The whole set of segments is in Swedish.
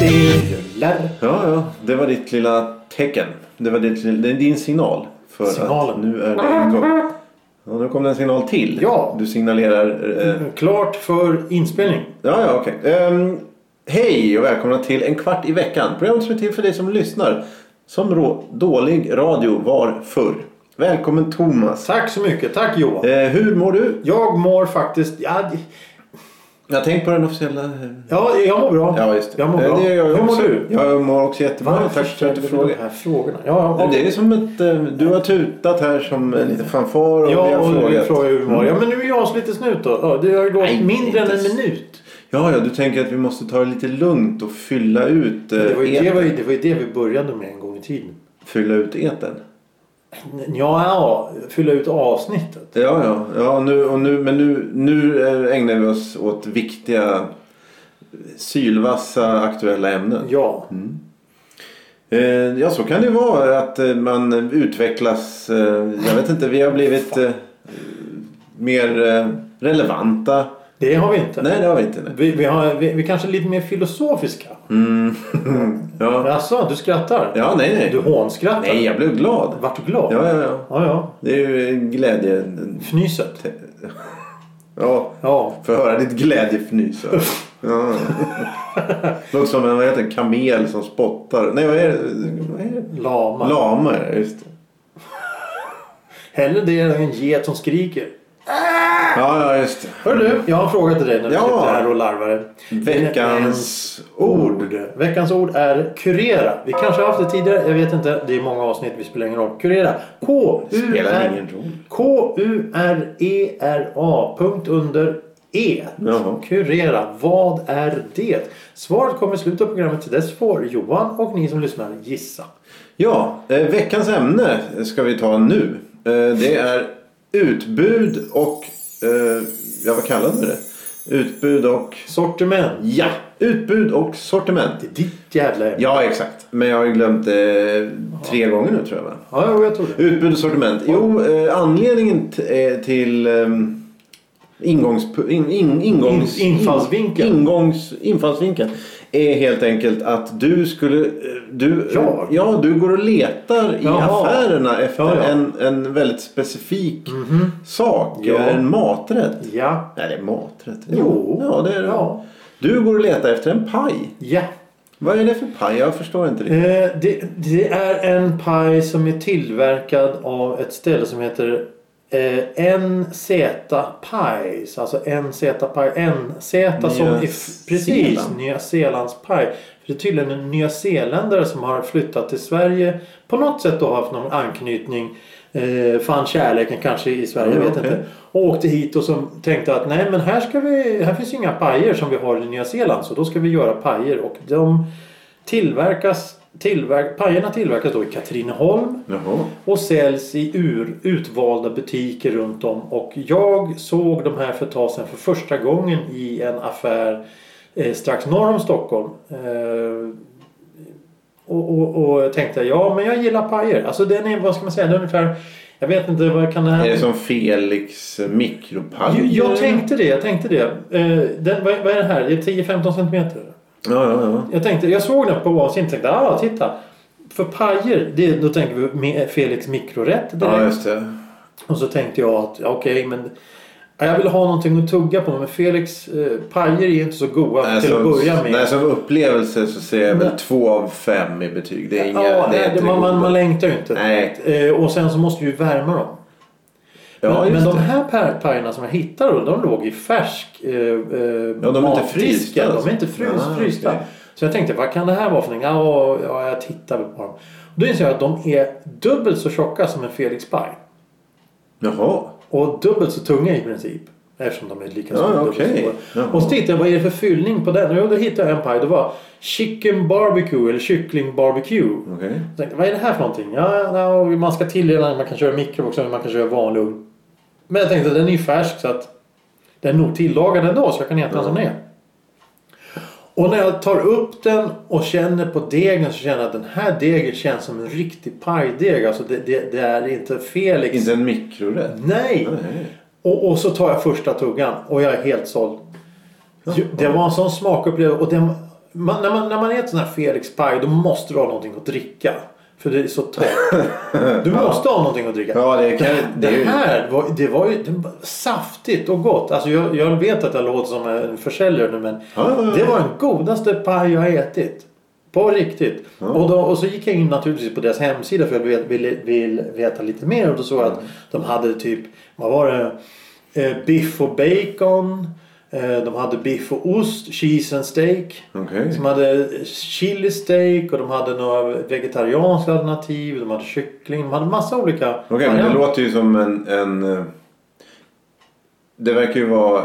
Det rullar. Ja, ja. Det var ditt lilla tecken. Det var ditt, lilla- det är din signal. För Signalen. Att nu är det igång. Ja, nu kom det en signal till. Ja. Du signalerar... Eh, Klart för inspelning. Ja, ja, okej. Ehm, hej och välkomna till En kvart i veckan. Programmet som är till för dig som lyssnar. Som rå- dålig radio var förr. Välkommen Thomas. Tack så mycket. Tack Johan. Eh, hur mår du? Jag mår faktiskt... Ja, det- Jag tänkt på den officiella... eh, ja jag mår bra. Ja, just det. Jag mår Eh, bra. det gör jag Hur mår också. du? Jag mår också jättebra. Tack för att du ställer frågar. de här frågorna? Ja, Det är som ett... eh, Du har tutat här som en liten fanfar och vi Ja, har och du frågat. frågar hur vi mår. Ja, men nu är jag så lite snut då. Ja, det har ju gått Nej, mindre än inte en s- minut. Ja, ja, du tänker att vi måste ta det lite lugnt och fylla ut, eh, Det var, ju, det, et- var ju, det var ju det vi började med en gång i tiden. fylla ut eten. Ja, ja fylla ut avsnittet. Ja, ja, ja nu, och nu, men nu, nu eh, ägnar vi oss åt viktiga sylvassa aktuella ämnen. Ja, Eh, ja, så kan det ju vara att eh, man utvecklas. Eh, jag vet inte, vi har blivit eh, mer eh, relevanta. det har vi inte. Nej, det har vi inte. Nej. Vi, vi, har, vi, vi kanske är lite mer filosofiska. Ja, Alltså, du skrattar? ja nej, Du nej. hånskrattar? Nej, jag blev glad. Vart du glad? Ja, ja, ja. ja. ja. Det är ju glädje... Fnyset? Ja, Ja. Får jag höra ditt glädjefnys. här? Ja. Låter som en vad heter, det, kamel som spottar. Nej, vad är det? Vad är det? Lama? Lama är det, just det. Hellre det än en get som skriker. Ja, ja, just det. Hör du, jag har en fråga till dig när du Ja. sitter här och larvar dig. Veckans ord. Veckans ord är kurera. Vi kanske har haft det tidigare, jag vet inte. Det är många avsnitt, vi spelar ingen roll. Kurera. Spelar ingen roll. K-U-R-E-R-A. E Punkt under E. Jaha. Kurera. Vad är det? Svaret kommer i slutet av programmet. Till dess får Johan och ni som lyssnar gissa. Ja, eh, veckans ämne ska vi ta nu. Eh, det är utbud och... Eh, ja, vad kallade vi det? Utbud och... Sortiment. Ja, utbud och sortiment. Det är ditt jävla ämne. Ja, exakt. Men jag har ju glömt det tre gånger nu tror jag. va? Ja, jo, jag tror det. Utbud och sortiment. Jo, eh, anledningen t- eh, till ehm, ingångs, in, in, ingångs, In- infallsvinkeln. Ingångs, infallsvinkeln är helt enkelt att du skulle... eh, Du, Jag? ja, du går och letar i Jaha. affärerna efter Ja, ja. En, en väldigt specifik sak. eh, Ja. En maträtt. Ja. Nej, det är maträtt. Jo. Ja, det är det. Ja. Du går och letar efter en paj. Ja. Vad är det för paj? Jag förstår inte riktigt. Eh, det, det är en paj som är tillverkad av ett ställe som heter eh, NZ Pies. Alltså NZ Pie. NZ som Nya är f- precis Zeeland. Nya Zeelands paj. För det är tydligen en nyzeeländare som har flyttat till Sverige. På något sätt då haft någon anknytning. Eh, fann kärleken kanske i Sverige. Jag Ja, vet okej. inte. Och åkte hit och som tänkte att nej men här, ska vi, här finns ju inga pajer som vi har i Nya Zeeland. Så då ska vi göra pajer. Och de tillverkas, tillverk, pajerna tillverkas då i Katrineholm. Jaha. Och säljs i ur, utvalda butiker runt om. Och jag såg de här för ett tag sedan för första gången i en affär eh, strax norr om Stockholm. Eh, och, och, och tänkte ja men jag gillar pajer. Alltså den är, vad ska man säga, den är ungefär, jag vet inte vad kan det här Är det som Felix eh, mikropaj? jag, jag tänkte det, jag tänkte det. Eh, den, vad, vad är det här? Det är 10-15 centimeter. Ja, ja, ja. Jag, tänkte, jag såg den på Åsin och tänkte ah, titta. För pajer, det, då tänker vi med Felix mikrorätt direkt. Ja, just det. Och så tänkte jag att ja, okej men ja, jag vill ha någonting att tugga på men Felix eh, pajer är ju inte så goda Nej, till som, att börja med. Nej, som upplevelse så ser jag väl Nej. två av fem i betyg. Det är inga... ja, det är nej, inte man, det man, goda. man längtar ju inte. Nej. Eh, och sen så måste vi ju värma dem. Ja, men just men de det. här pa- pajerna som jag hittade då, de låg i färsk eh, eh, Ja, de är inte matdiskar. frysta, De alltså. är inte frys, Ah, frysta. okej. Så jag tänkte, vad kan det här vara för någonting? Ja, ja, jag tittar väl på dem. Då inser jag att de är dubbelt så tjocka som en Felix paj. Jaha. Och dubbelt så tunga i princip. Eftersom de är lika Ja, stora. dubbelt så Ah, okej. stora. Jaha. Och så tittade jag, vad är det för fyllning på den? Jo, då hittade jag en paj. Det var chicken barbecue eller kyckling barbecue. Okej. Jag tänkte, vad är det här för någonting? Ja, ja, och man ska tillerna, man kan köra mikrovågsugn, man kan köra vanlig ugn. Men jag tänkte den är ju färsk så att den är nog tillagad ändå så jag kan äta den som den är. Och när jag tar upp den och känner på degen så känner jag att den här degen känns som en riktig pajdeg. Alltså det, det, det är inte liksom. Felix. Inte en mikrorätt. Nej! Nej. Och, och så tar jag första tuggan och jag är helt såld. Ju- Det var en sån smakupplevelse. Och den, man, när, man, när man äter sån här Felix paj då måste du ha någonting att dricka. För det är så torrt. Du måste ha någonting att dricka. Ja, det kan... Det Det är ju... här var, det var ju det var saftigt och gott. Alltså jag, jag vet att jag låter som en försäljare nu men Ja, ja, ja. det var den godaste paj jag har ätit. På riktigt. Och, då, och så gick jag in naturligtvis på deras hemsida för jag ville vill, vill veta lite mer. Och då såg jag att de hade typ, vad var det? Eh, biff och bacon. Eh, de hade biff och ost, cheese and steak. Okej. Som hade chili steak och de hade några vegetarianska alternativ. De hade kyckling. De hade massa olika Okej, men det låter ju som en, en... eh, Det verkar ju vara... eh,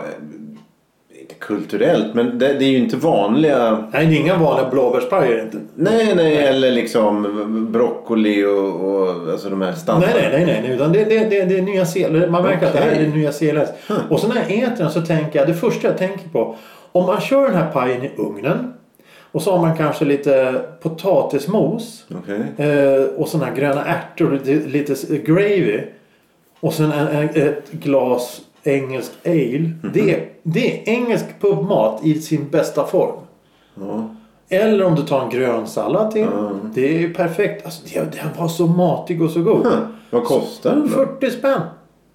Inte kulturellt, men det, det är ju inte vanliga... Nej, det är inga vanliga blåbärspajer inte. Nej, nej, eller liksom broccoli och, och alltså de här standard... Nej, nej, nej, nej, nej. Utan det, det, det, det är Nya Zeeland. Man märker att det här är Okej. Nya Zeeland. Och så när jag äter den så tänker jag, det första jag tänker på. Om man kör den här pajen i ugnen. Och så har man kanske lite potatismos. Okej. eh, Och såna här gröna ärtor, lite- lite s- gravy. Och sen en, en, ett glas engelsk ale. Mhm. det, är- det är engelsk pubmat i sin bästa form. Ja. Eller om du tar en grön sallad till. Det är ju perfekt. Alltså, det, den var så matig och så god. Vad kostar den då? 40 spänn.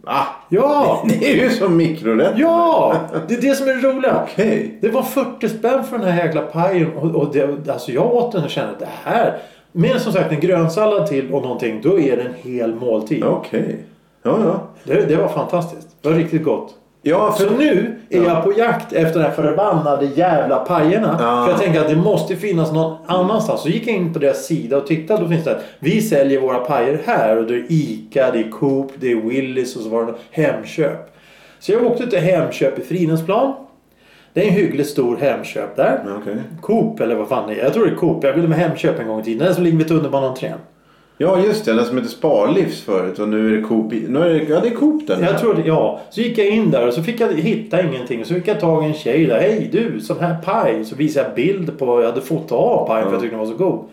Ah, Ja! det är ju som mikrorätt. Ja! Det är det som är det roliga. Okej. Det var 40 spänn för den här jäkla pajen. Och, och det, alltså jag åt den och kände att det här. Med som sagt en grönsallad till och någonting. Då är det en hel måltid. Okej. Ja, ja. Det, det var fantastiskt. Det var riktigt gott. Ja, Så för... Alltså, nu är jag på jakt efter de här förbannade jävla pajerna. Ja. För jag tänker att det måste finnas någon annanstans. Så gick jag in på deras sida och tittade. Då finns det att vi säljer våra pajer här. Och det är ICA, det är Coop, det är Willys och så var det Hemköp. Så jag åkte till Hemköp i Fridhemsplan. Det är en hyggligt stor Hemköp där. Ja, Okej. Coop eller vad fan det är. Jag tror det är Coop. Jag ville med Hemköp en gång i tiden. Den som ligger vid tunnelbaneentrén. Ja, just det. Den som hette Sparlivs förut och nu är det Coop. i- Nu är det... Ja, det är Coop den. Jag trodde, ja. Så gick jag in där och så fick jag hitta ingenting. Så fick jag tag i en tjej där. Hej du, sån här paj. Så visade jag bild på vad jag hade fått av pajen för jag tyckte den var så god.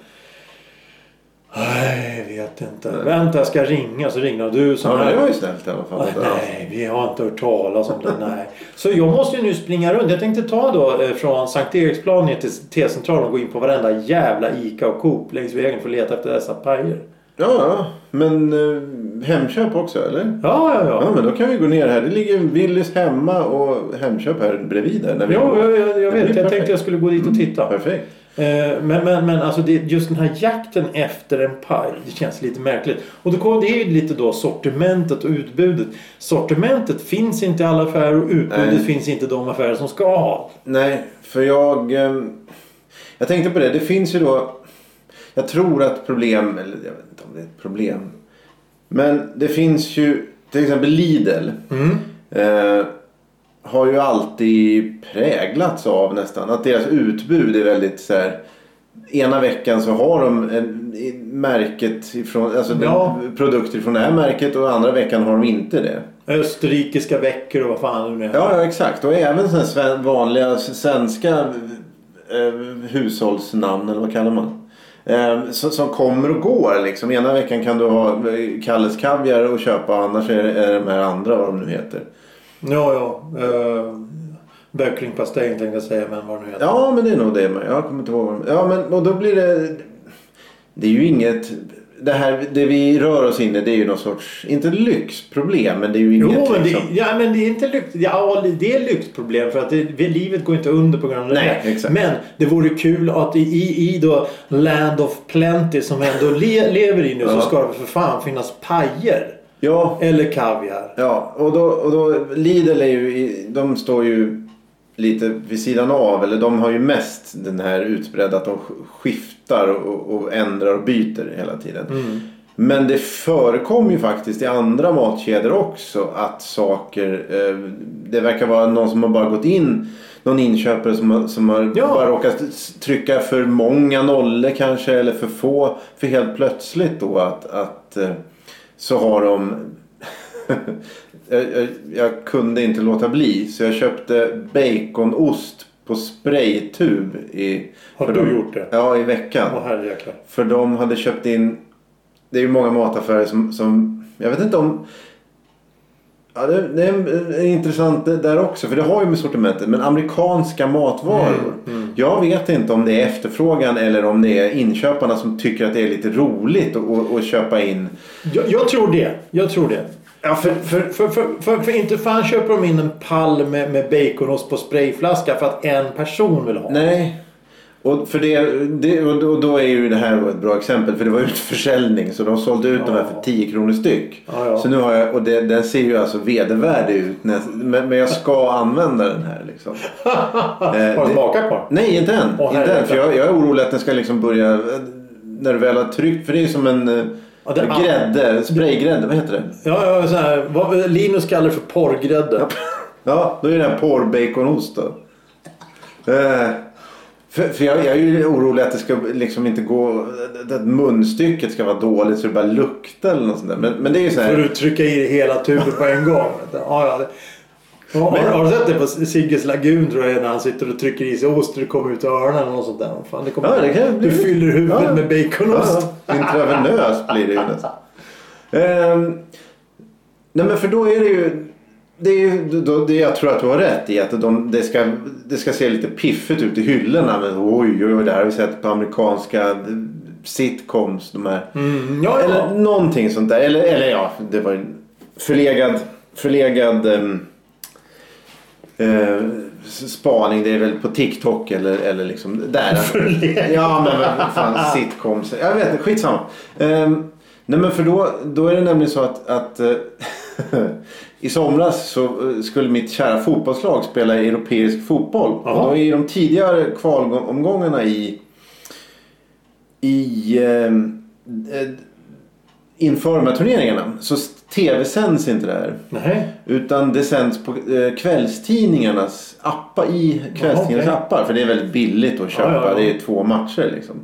Nej, jag vet inte. Vänta, jag ska ringa. Så ringde hon. Du, sån Ja, men här. det var ju snällt i alla fall. Nej, Nej, vi har inte hört talas om det. Nej. Så jag måste ju nu springa runt. Jag tänkte ta då eh, från Sankt Eriksplan ner till T-centralen och gå in på varenda jävla ICA och Coop längs vägen för att leta efter dessa pajer. Ja, ja. Men eh, Hemköp också, eller? Ja, ja, Ja, ja. men då kan vi gå ner här. Det ligger en Willys hemma och Hemköp här bredvid där. När vi Jo, jag, jag, jag vet. Jag perfekt. Mm, tänkte jag skulle gå dit och titta. Perfekt. Eh, Men, men, men alltså det, just den här jakten efter en paj, det känns lite märkligt. Och då kom, det är ju lite då sortimentet och utbudet. Sortimentet finns inte i alla affärer och utbudet Nej. finns inte i de affärer som ska ha. Nej, för jag... eh, Jag tänkte på det. Det finns ju då... Jag tror att problem... Eller jag vet inte om det är ett problem. Men det finns ju... Till exempel Lidl. Eh, har ju alltid präglats av nästan att deras utbud är väldigt så här. Ena veckan så har de en, i- märket ifrån, alltså den- Ja. produkter från det här märket och andra veckan har de inte det. Österrikiska veckor och vad fan det nu är. Ja, ja exakt. Och även sådana sven- vanliga s- svenska eh, hushållsnamn eller vad kallar man? Eh, som, som kommer och går liksom. Ena veckan kan du ha eh, Kalles Kaviar och köpa annars är det, är det de här andra vad de nu heter. Ja, ja. Eh, Böcklingpastej tänkte jag säga, men vad det nu heter. Ja, men det är nog det med. Jag kommer inte ihåg. vad de- Ja, men och då blir det... Det är ju inget... Det här det vi rör oss in i det är ju någon sorts, inte lyxproblem, men det är ju inget Jo, men det, liksom... ja, men det är inte lyx, ja, det är lyxproblem för att det, livet går inte under på grund av det. Nej, exakt. Men det vore kul att i, i då Land of Plenty som vi ändå le, lever i nu så Ja. ska det för fan finnas pajer. Ja, Eller kaviar. ja och, då, och då Lidl är ju, i- de står ju lite vid sidan av. Eller de har ju mest den här utbredda att de sk- skiftar och, och ändrar och byter hela tiden. Mm. Men det förekommer ju faktiskt i andra matkedjor också att saker... Eh, det verkar vara någon som har bara gått in. Någon inköpare som har, som har Ja. bara råkat s- trycka för många nollor kanske eller för få. För helt plötsligt då att, att eh, så har de... jag, jag, jag kunde inte låta bli så jag köpte baconost på spraytub. I, Har för du dem- gjort det? Ja, i veckan. Åh herrejäklar. För de hade köpt in... Det är ju många mataffärer som... som jag vet inte om... Ja, det, det är en- en intressant det där också. För det har ju med sortimentet. Men amerikanska matvaror. Jag vet inte om det är efterfrågan eller om det är inköparna som tycker att det är lite roligt att- att att köpa in. Jag, jag tror det. Jag tror det. Ja, för, för, För, för, för, för inte fan köper de in en pall med, med baconost på sprayflaska för att en person vill ha. Nej. Och, för det, det, och då- och då är ju det här då ett bra exempel. För det var utförsäljning. Så de sålde ut de här för 10 kronor styck. Ja, ja. Så nu har jag, och det, den ser ju alltså vedervärdig ut. näst- Men, men jag ska använda den här liksom. Eh, Har du det- smakat på den? Nej, inte än. Åh, inte än herregud. för jag, jag är orolig att den ska liksom börja... När du väl har tryckt. För det är ju som en eh, Ja, det- grädde. Spraygrädde. Vad heter det? Ja, ja så här, vad, Linus kallar det för porrgrädde. Ja, då är det här porrbaconost då. Eh, för, för jag, jag är ju orolig att det ska liksom inte gå... Att munstycket ska vara dåligt så det bara luktar eller något sånt där. Men, men det är ju så Får här... du trycka i det hela tuben på en gång. Ja, ja. det- Ja, har, har du sett det på Sigges lagun tror jag när han sitter och trycker i sig ost och det kommer ut i öronen och sånt där. Fan, det kommer, Ja, det kan du bli- fyller huvudet Ja. med baconost. Ja, ja. Intravenöst blir det ju nästan. Ehm, nej men för då är det ju... Det är ju då, det jag tror att du har rätt i att de, det, ska, det ska se lite piffigt ut i hyllorna. Men oj, oj, oj, det här har vi sett på amerikanska eh, sitcoms. De här. Mm, ja, ja. Eller någonting sånt där. Eller, eller ja, det var ju förlegad, förlegad ehm, eh, spaning. Det är väl på TikTok eller, eller liksom där. Förlegad. Ja men vad fan sitcoms. Jag vet inte, skitsamma. Um, nej men för då, då är det nämligen så att, att eh, i somras så eh, skulle mitt kära fotbollslag spela europeisk fotboll. Jaha. Och då i de tidigare kvalomgångarna i i ehm, eh, inför de här turneringarna så tv-sänds inte det här. Nej. Utan det sänds på eh, kvällstidningarnas appar, i kvällstidningarnas okej. appar. För det är väldigt billigt att köpa. Ja, ja, ja. Det är två matcher liksom.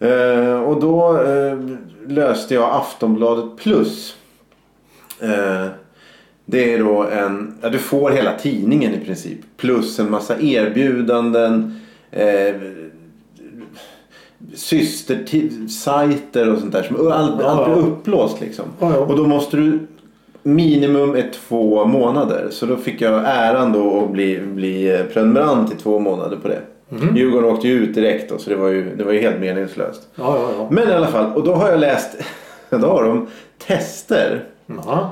Eh, och då eh, löste jag Aftonbladet plus. Eh, det är då en, ja, du får hela tidningen i princip. Plus en massa erbjudanden. Eh, systersajter och sånt där. Som, allt, Ja, allt blir ja. upplåst liksom. Ja, ja. Och då måste du Minimum är två månader. Så då fick jag äran då att bli, bli eh, prenumerant i två månader på det. Mhm. Djurgården åkte ju ut direkt då, så det var ju, det var ju helt meningslöst. Ja, ja, ja. Men i alla fall, och då har jag läst, då har de tester. Jaha.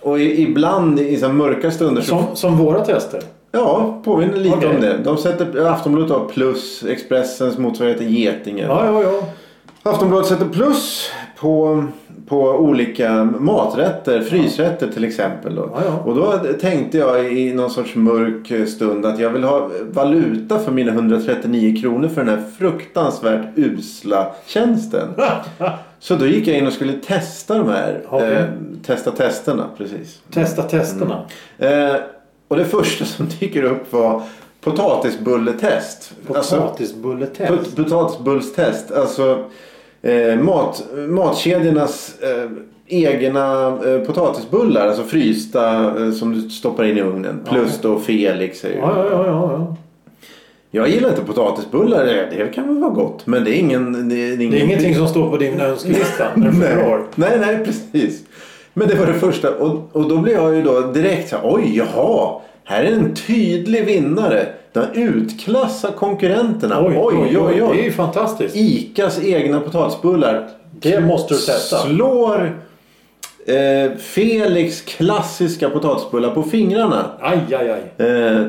Och i, ibland i så här mörka stunder så... Som, som våra tester. Ja, påminner lite Okej. om det. De sätter Aftonbladet har plus, Expressens motsvarighet är Getinge. Ja, ja, ja. Aftonbladet sätter plus på, på olika maträtter, frysrätter till exempel. Då. Ja, ja. Och då tänkte jag i någon sorts mörk eh, stund att jag vill ha valuta för mina 139 kronor för den här fruktansvärt usla tjänsten. Så då gick jag in och skulle testa de här. Okej. Eh, testa testerna, precis. Testa testerna. Eh, och det första som dyker upp var potatisbulletest. Alltså- Potatisbulletest. Pot- Potatisbullstest. Alltså eh, mat, matkedjornas eh, egna eh, potatisbullar. Alltså frysta eh, som du stoppar in i ugnen. Plus då Felix. Är ju. ja, ja, ja, ja, ja. Jag gillar inte potatisbullar. Det det kan väl vara gott. Men det är ingen... Det är, Det är ingenting som står på din önskelista när du fyller nej, år. nej, nej, precis. Men det var det första. Och, och då blev jag ju då direkt så här, oj, jaha. Här är en tydlig vinnare. Den utklassar konkurrenterna. Oj, oj, oj. Det är ju fantastiskt. Icas egna potatisbullar. Det måste du testa. Slår eh, Felix klassiska potatisbullar på fingrarna. Aj, aj, aj. Eh,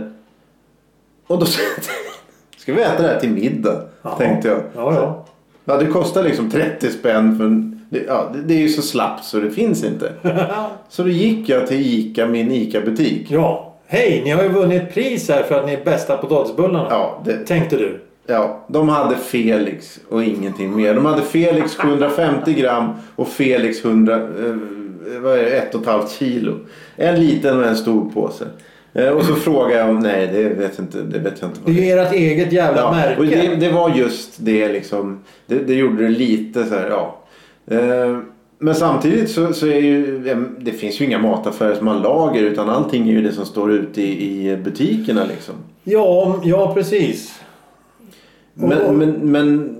och då ska vi äta det här till middag. Ja. Tänkte jag. Ja, ja. Ja, det kostar liksom 30 spänn. För en, det, ja, det, det är ju så slappt så det finns inte. så då gick jag till Ica, min Ica-butik. Ja. Hej, ni har ju vunnit pris här för att ni är bästa potatisbullarna. Ja, det, Tänkte du. Ja, de hade Felix och ingenting mer. De hade Felix 750 gram och Felix 100, eh, vad är det, ett och ett halvt kilo. En liten och en stor påse. Eh, och så frågade jag om, nej det vet, inte, det vet jag inte Det är vad det är. ju ert eget jävla Ja, märke. och det, det var just det liksom. Det, det gjorde det lite så här, ja. Eh, men samtidigt så, så är ju, eh, det finns ju inga mataffärer som har lager utan allting är ju det som står ute i, i butikerna liksom. Ja, om- ja precis. Och- Men, men, men...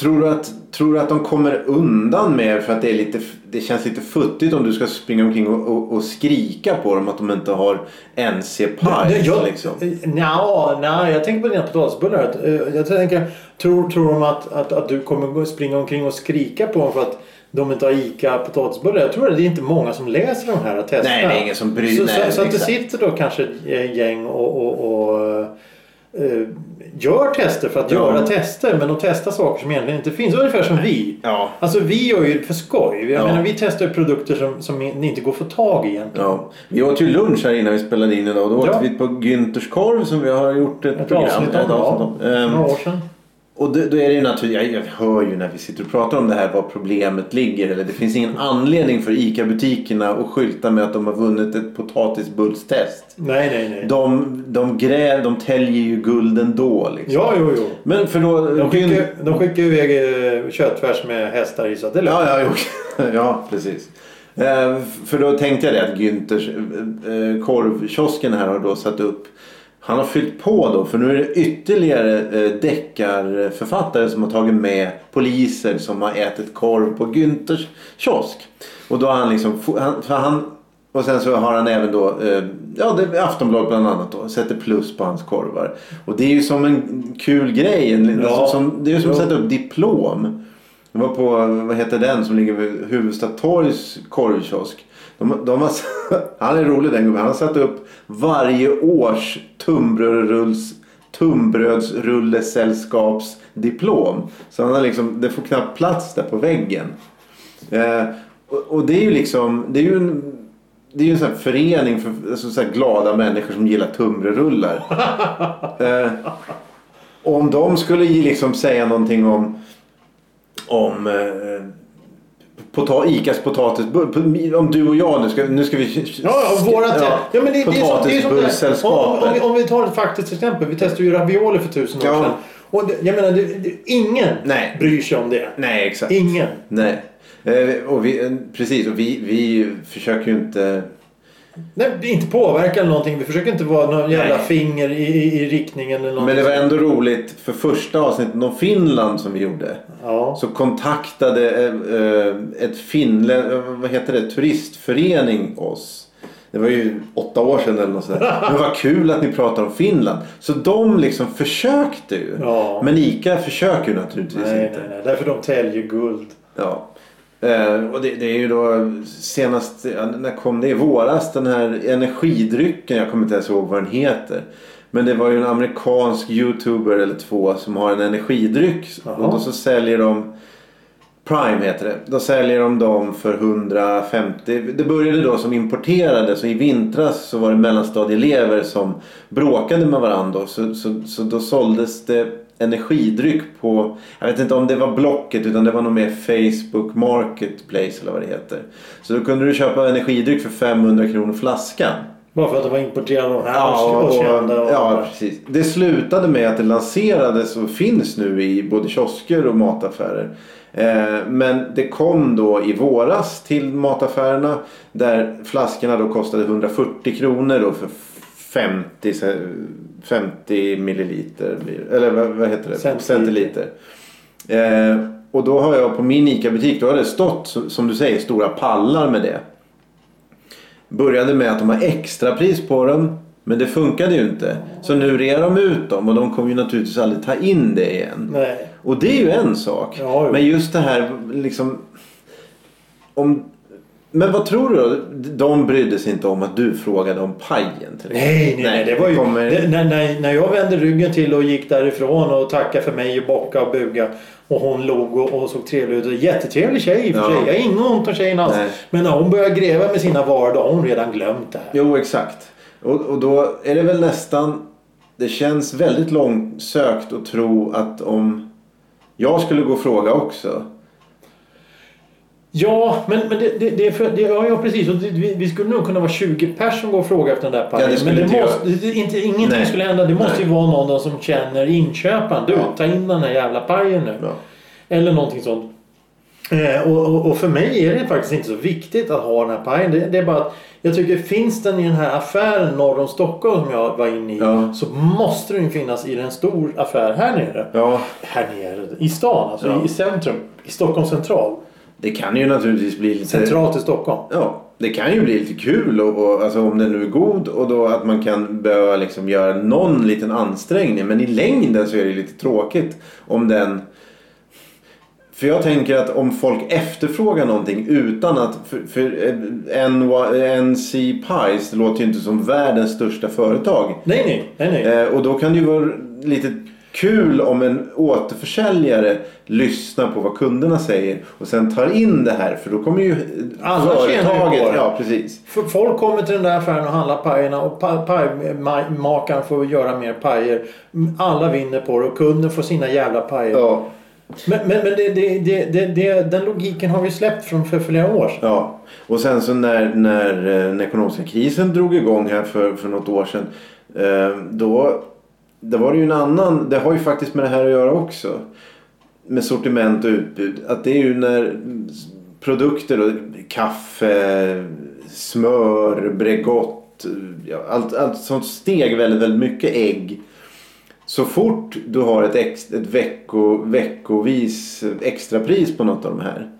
Tror du, att, tror du att de kommer undan med för att det, är lite, det känns lite futtigt om du ska springa omkring och, och, och skrika på dem att de inte har Det- det- NC-paj? jag- Liksom. eh, nja, nej, jag tänker på dina potatisbullar. Att, eh, Jag tänker, tror, tror de att, att, att du kommer gå- springa omkring och skrika på dem för att de inte har ICA potatisbullar? Jag tror att det är inte många som läser de här och testar. Nej, det är ingen som bryr- Så, nej, så, så att det exakt. sitter då kanske ett gäng och, och, och eh, gör tester för att Ja. göra tester. Men de testar saker som egentligen inte finns. Ungefär som vi. Ja. Alltså vi gör ju det för skoj. Jag Ja. menar, vi testar ju produkter som, som inte går att få tag i egentligen. Ja. Vi åt ju lunch här innan vi spelade in idag. och Då åt Ja. vi på Günthers korv som vi har gjort ett, Ett program. avsnitt om ett avsnitt ja, om. Ehm, några år sedan. Och då, då är det ju naturligt, jag, jag hör ju när vi sitter och pratar om det här var problemet ligger. Eller det finns ingen anledning för ICA-butikerna att skylta med att de har vunnit ett potatisbullstest. Nej, nej, nej. De, de gräv, de täljer ju guld ändå liksom. Ja, jo, jo. Men för då... De Gün- skickar, de skickar iväg eh, köttfärs med hästar i så att det är lugnt. Ja, ja, jo. ja, precis. Eh, f- För då tänkte jag det att Günthers eh, eh, korvkiosken här har då satt upp han har fyllt på då för nu är det ytterligare eh, deckarförfattare som har tagit med poliser som har ätit korv på Günthers kiosk. Och då har han liksom, fo- han, för han, och sen så har han även då, eh, ja det är Aftonbladet bland annat då, sätter plus på hans korvar. Och det är ju som en kul grej, en, Ja. alltså, som, det är ju som att Jo. sätta upp diplom. Det var på, vad heter den som ligger vid Huvudsta torgs korvkiosk. De, de har, han är rolig den gubben. Han har satt upp varje års tunnbrödsrulls tunnbrödsrullesällskapsdiplom. Så han har liksom, det får knappt plats där på väggen. Eh, och, och det är ju liksom, det är ju en, det är ju en sån här förening för alltså, så här glada människor som gillar tunnbrödsrullar. eh, och om de skulle ge- liksom säga någonting om om eh, pota Icas potatisbull. Om du och jag nu ska, nu ska vi... Ja, ja, våra te- ja, men det, det är sånt- det är sånt där- om, om, vi- Potatisbullssällskapet. om vi tar ett faktiskt exempel. Vi testade ju ravioli för tusen år Ja. sedan. Och det, jag menar, det, det, ingen Nej. bryr sig om det. Nej, exakt. Ingen. Nej. Eh, Och vi, eh, precis, och vi, vi försöker ju inte... Nej, det är inte påverkan eller någonting. Vi försöker inte vara någon jävla Nej. finger i, i, i riktningen eller Men någonting. det var ändå roligt för första avsnittet om Finland som vi gjorde. Ja. Så kontaktade eh, eh, ett finlä... eh, vad heter det, turistförening oss. Det var ju åtta år sedan eller något sånt där. Men vad kul att ni pratar om Finland. Så de liksom försökte ju. Ja. Men ICA försöker ju naturligtvis Nej, inte. nej, nej. Därför de täljer guld. Ja. Eh, och det, det är ju då senast, ja, när kom det? I våras den här energidrycken, jag kommer inte ens ihåg vad den heter. Men det var ju en amerikansk youtuber eller två som har en energidryck. Jaha. Och då så säljer de Prime heter det. Då säljer de dem för 150. Det började då som importerade. Så i vintras så var det mellanstadieelever som bråkade med varandra. Så, så, så då såldes det energidryck på, jag vet inte om det var Blocket utan det var nog mer Facebook Marketplace eller vad det heter. Så då kunde du köpa energidryck för 500 kronor flaskan. Bara för att de var importerade av de här Ja, och, och, kända. Och, ja, precis. Det slutade med att det lanserades och finns nu i både kiosker och mataffärer. Eh, Men det kom då i våras till mataffärerna där flaskorna då kostade 140 kronor då för 50, så- 50 milliliter. blir- Eller vad, vad heter det? Centiliter. Centiliter. Eh, och då har jag på min ICA-butik, då har det stått som- som du säger stora pallar med det. Började med att de har extra pris på dem. Men det funkade ju inte. Så nu rear de ut dem och de kommer ju naturligtvis aldrig ta in det igen. Nej. Och det är ju en sak. Ja, jo. men just det här liksom... Om, men vad tror du då? De brydde sig inte om att du frågade om pajen till Nej, nej, nej, det var ju... kommer- Det, när, när, när jag vände ryggen till och gick därifrån och tackade för mig och bockade och bugade. Och hon log och, och såg trevlig ut. Jättetrevlig tjej i och för Ja. sig. Jag har inget ont om tjejen alls. Nej. Men när hon började gräva med sina varor då har hon redan glömt det här. Jo, exakt. Och, och då är det väl nästan... Det känns väldigt långsökt att tro att om jag skulle gå och fråga också. Ja, men, men det, det, det är för, det, ja, ja, precis. Och det, vi, vi skulle nog kunna vara 20 pers som går och frågar efter den där pajen. Ja, det skulle men det inte jag. måste, det, inte, ingenting Nej. skulle hända. Det måste ju vara någon då som känner inköparen. Du, Ja. ta in den här jävla pajen nu. Ja. Eller någonting sånt. Eh, Och, och, och för mig är det faktiskt inte så viktigt att ha den här pajen. Det, det är bara att jag tycker finns den i den här affären norr om Stockholm som jag var inne i Ja. så måste den ju finnas i en stor affär här nere. Ja, Här nere i stan, alltså Ja. i centrum. I Stockholm central. det kan ju naturligtvis bli lite... Centralt i Stockholm. Ja, det kan ju bli lite kul och, och, alltså, om den nu är god och då att man kan behöva liksom göra någon liten ansträngning. Men i längden så är det lite tråkigt om den... För jag tänker att om folk efterfrågar någonting utan att... För, för eh, NY NC Pies låter ju inte som världens största företag. Nej, nej, nej. nej. Eh, och då kan det ju vara lite kul om en återförsäljare lyssnar på vad kunderna säger och sen tar in det här för då kommer ju Alla tjänar ju på det. Ja, precis. För folk kommer till den där affären och handlar pajerna och pa- pajmakaren får göra mer pajer. Alla vinner på det och kunden får sina jävla pajer. Ja, Men, men, men det, det, det, det, det, den logiken har vi släppt från för flera år sedan. ja. Och sen så när, när eh, den ekonomiska krisen drog igång här för, för något år sedan. Eh, då det var det ju en annan, det har ju faktiskt med det här att göra också. Med sortiment och utbud. Att det är ju när mm, s- produkter, och kaffe, smör, Bregott. ja, Allt, allt sånt steg väldigt, väldigt mycket. Ägg. Så fort du har ett, ex, ett vecko, veckovis extrapris på något av de här.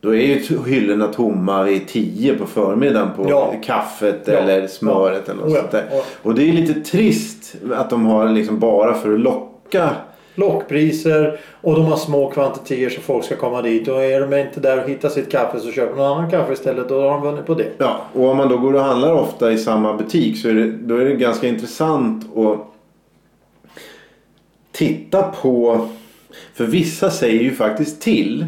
Då är ju t- hyllorna tomma vid 10 på förmiddagen på Ja. kaffet Ja. eller smöret eller något Oh ja. sånt där. Ja. Och det är lite trist att de har liksom bara för att locka. Lockpriser och de har små kvantiteter så folk ska komma dit. Och är de inte där och hittar sitt kaffe så köper de någon annan kaffe istället och då har de vunnit på det. Ja, och om man då går och handlar ofta i samma butik så är det, då är det ganska intressant att titta på. För vissa säger ju faktiskt till.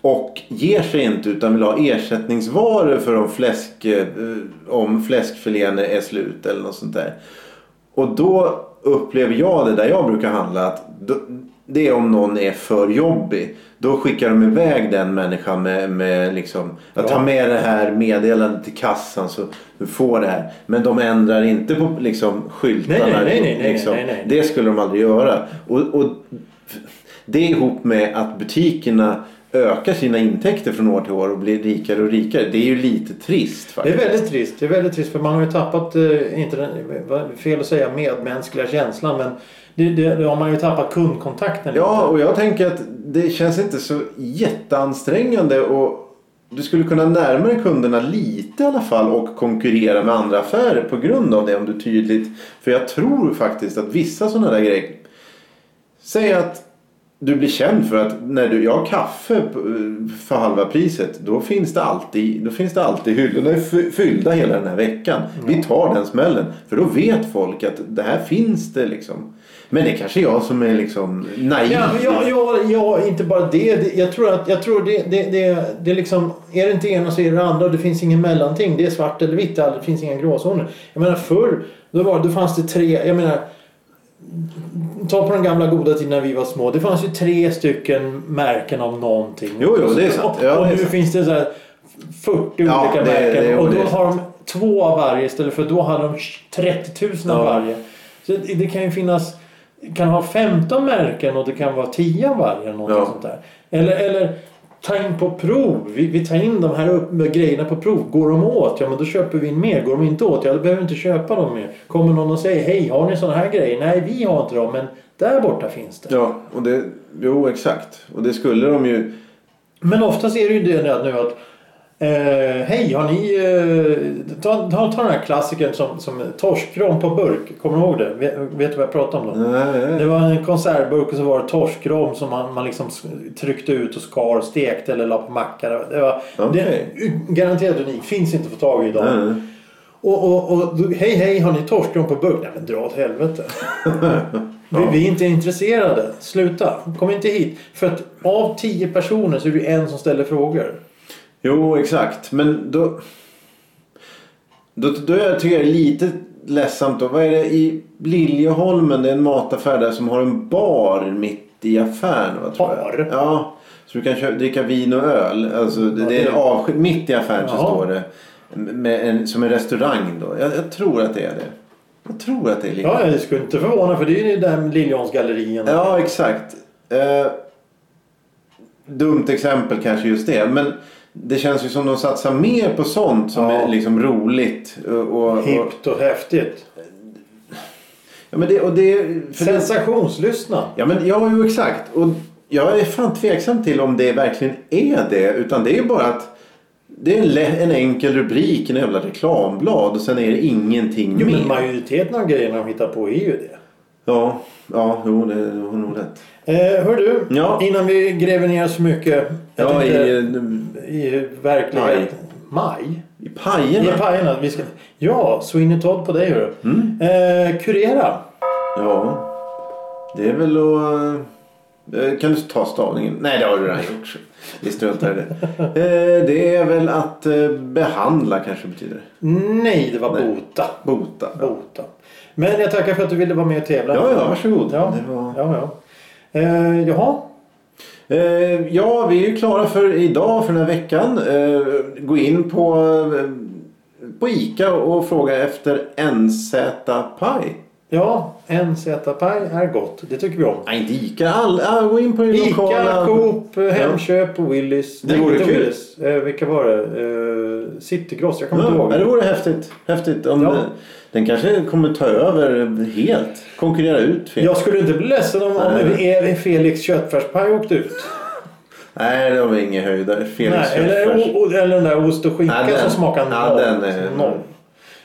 Och ger sig inte utan vill ha ersättningsvaror för om, fläsk, eh, om fläskfilén är slut eller något sånt där. Och då upplever jag det där jag brukar handla att då, det är om någon är för jobbig. Då skickar de iväg den människan med, med liksom, att Ja. ta med det här meddelandet till kassan så du får det här. Men de ändrar inte på liksom, skyltarna. Nej, nej, nej, nej, nej, nej, nej. liksom- Det skulle de aldrig göra. Och, och det ihop med att butikerna ökar sina intäkter från år till år och blir rikare och rikare. Det är ju lite trist Det är faktiskt. väldigt trist. Det är väldigt trist för man har ju tappat, eh, inte den, vad- fel att säga medmänskliga känslan men det, det, det har man ju tappat kundkontakten Ja, och jag tänker att det känns inte så jätteansträngande och du skulle kunna närma dig kunderna lite i alla fall och konkurrera med andra affärer på grund av det om du tydligt. För jag tror faktiskt att vissa sådana där grejer. Säg att du blir känd för att när du, jag har kaffe på- för halva priset då finns det alltid, då finns det alltid hyllorna är fy- fyllda hela den här veckan. Vi tar den smällen för då vet folk att det här finns det liksom. Men det är kanske jag som är liksom naiv. Ja, men jag, jag, jag, inte bara det. Det- Jag tror att jag tror det, det, det, det är liksom, är det inte ena så är det andra. Det finns ingen mellanting. Det är svart eller vitt. Det finns inga gråzoner. Jag menar förr, då, var, då fanns det tre, jag menar Ta på den gamla goda tiden när vi var små. Det fanns ju tre stycken märken av någonting. Jo, jo, det är sant. Ja, och det är nu sant. finns det så här 40 Ja, olika det- märken. det- jo, och det då är har de två av varje istället för då hade de 30 000 av Ja. varje. Så det det kan ju finnas kan ha 15 märken och det kan vara 10 av varje. Eller, Ja. ja. sånt där. eller, eller ta in på prov. Vi, vi tar in de här upp med grejerna på prov. Går de åt? Ja men då köper vi in mer. Går de inte åt? Ja då behöver vi inte köpa dem mer. Kommer någon och säger hej har ni såna här grejer? Nej vi har inte dem men där borta finns det. Ja, och det, jo exakt. Och det skulle de ju. Men oftast är det ju det nu att eh, Hej, har ni... Eh, ta, ta, ta den här klassikern som, som torskrom på burk. Kommer du ihåg det? Vet, vet du vad jag pratar om då? Nej, Det var en konservburk och så var det torskrom som man, man liksom s- tryckte ut och skar, stekte eller la på macka. Det var Okej. det, garanterat unikt. Finns inte att få tag i idag. nej. Och, och, och då, hej hej, har ni torskrom på burk? Nej men dra åt helvete. vi, vi är inte intresserade. Sluta. Kom inte hit. För att av tio personer så är det ju en som ställer frågor. Jo, exakt. Men då... Då, då jag tycker jag det är lite ledsamt. Då. Vad är det i Liljeholmen? Det är en mataffär där som har en bar mitt i affären. Vad tror Bar? Jag. Ja. Så du kan köpa, dricka vin och öl. Alltså, det, Ja, det är en det- avsked, mitt i affären så Jaha. står det. Med en, som en restaurang då. Jag, jag tror att det är det. Jag tror att det är Liljeholmen. Ja, jag skulle inte förvåna för det är ju den där Liljans gallerien. Ja, exakt. Eh, dumt exempel kanske just det. Men det känns ju som de satsar mer på sånt som Ja. är liksom roligt. Och, och, och, Hippt och häftigt. ja, men det, och det, för det, Sensationslyssna. ja, men, ja, jo exakt. Och jag är fan tveksam till om det verkligen är det. Utan det är bara att det är en, lä- en enkel rubrik i en jävla reklamblad. Och sen är det ingenting Jo, men mer. majoriteten av grejerna de hittar på är ju det. Ja, ja, jo, det du har nog rätt. Eh, hör du, Ja. innan vi gräver ner oss för mycket. jag Ja, tänkte- i, eh, I verkligheten. Maj? i I pajerna. Pajerna. Vi ska... Ja, Sweeney Todd på dig hörru. Mm. Eh, kurera. Ja, det är väl att... eh, Kan du ta stavningen? Nej, det har du redan gjort. Vi struntar i det. Eh, Det är väl att eh, behandla kanske betyder. det. Nej, det var Nej. bota. Bota. Bota. Men jag tackar för att du ville vara med och tävla. Ja, ja, varsågod. Ja, Det var... ja, ja. Eh, jaha. Eh, ja, vi är ju klara för idag, för den här veckan. Eh, gå in på, eh, på ICA och fråga efter NZ-paj. Ja, en paj är gott. Det tycker vi om. Nej, inte ICA. All, ah, gå in på det lokala. Ica, Coop, Hemköp och Willys. Det vore inte kul. Willys. Eh, vilka var det? Eh, Citygross. Jag kommer inte Ja, ihåg. det vore häftigt. häftigt om Ja. det, den kanske kommer ta över helt. Konkurrera ut fel. Jag skulle inte bli ledsen om, om E- Felix köttfärspaj åkte ut. Nej, det var ingen höjdare. Felix Nej, eller, Hjöfors. o, o, eller den där ost och skinka Ja, den- som smakar ja, noll. den är- noll.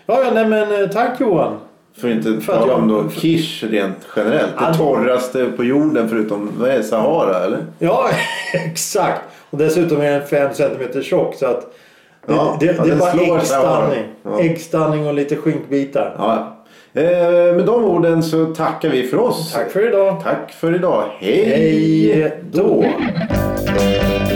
Ja, ja, nej men eh, tack Johan. För att inte för att tala om jag- då quiche rent generellt. Ja. Det torraste på jorden förutom vad är det, Sahara eller? Ja, exakt. Och dessutom är den 5 cm tjock så att det, Ja, det, det, ja, är den slår bara sig av äggstanning. den. Ja. Äggstanning och lite skinkbitar. Ja. Eh, med de orden så tackar vi för oss. Tack för idag. Tack för idag. Hej, Hej då. då.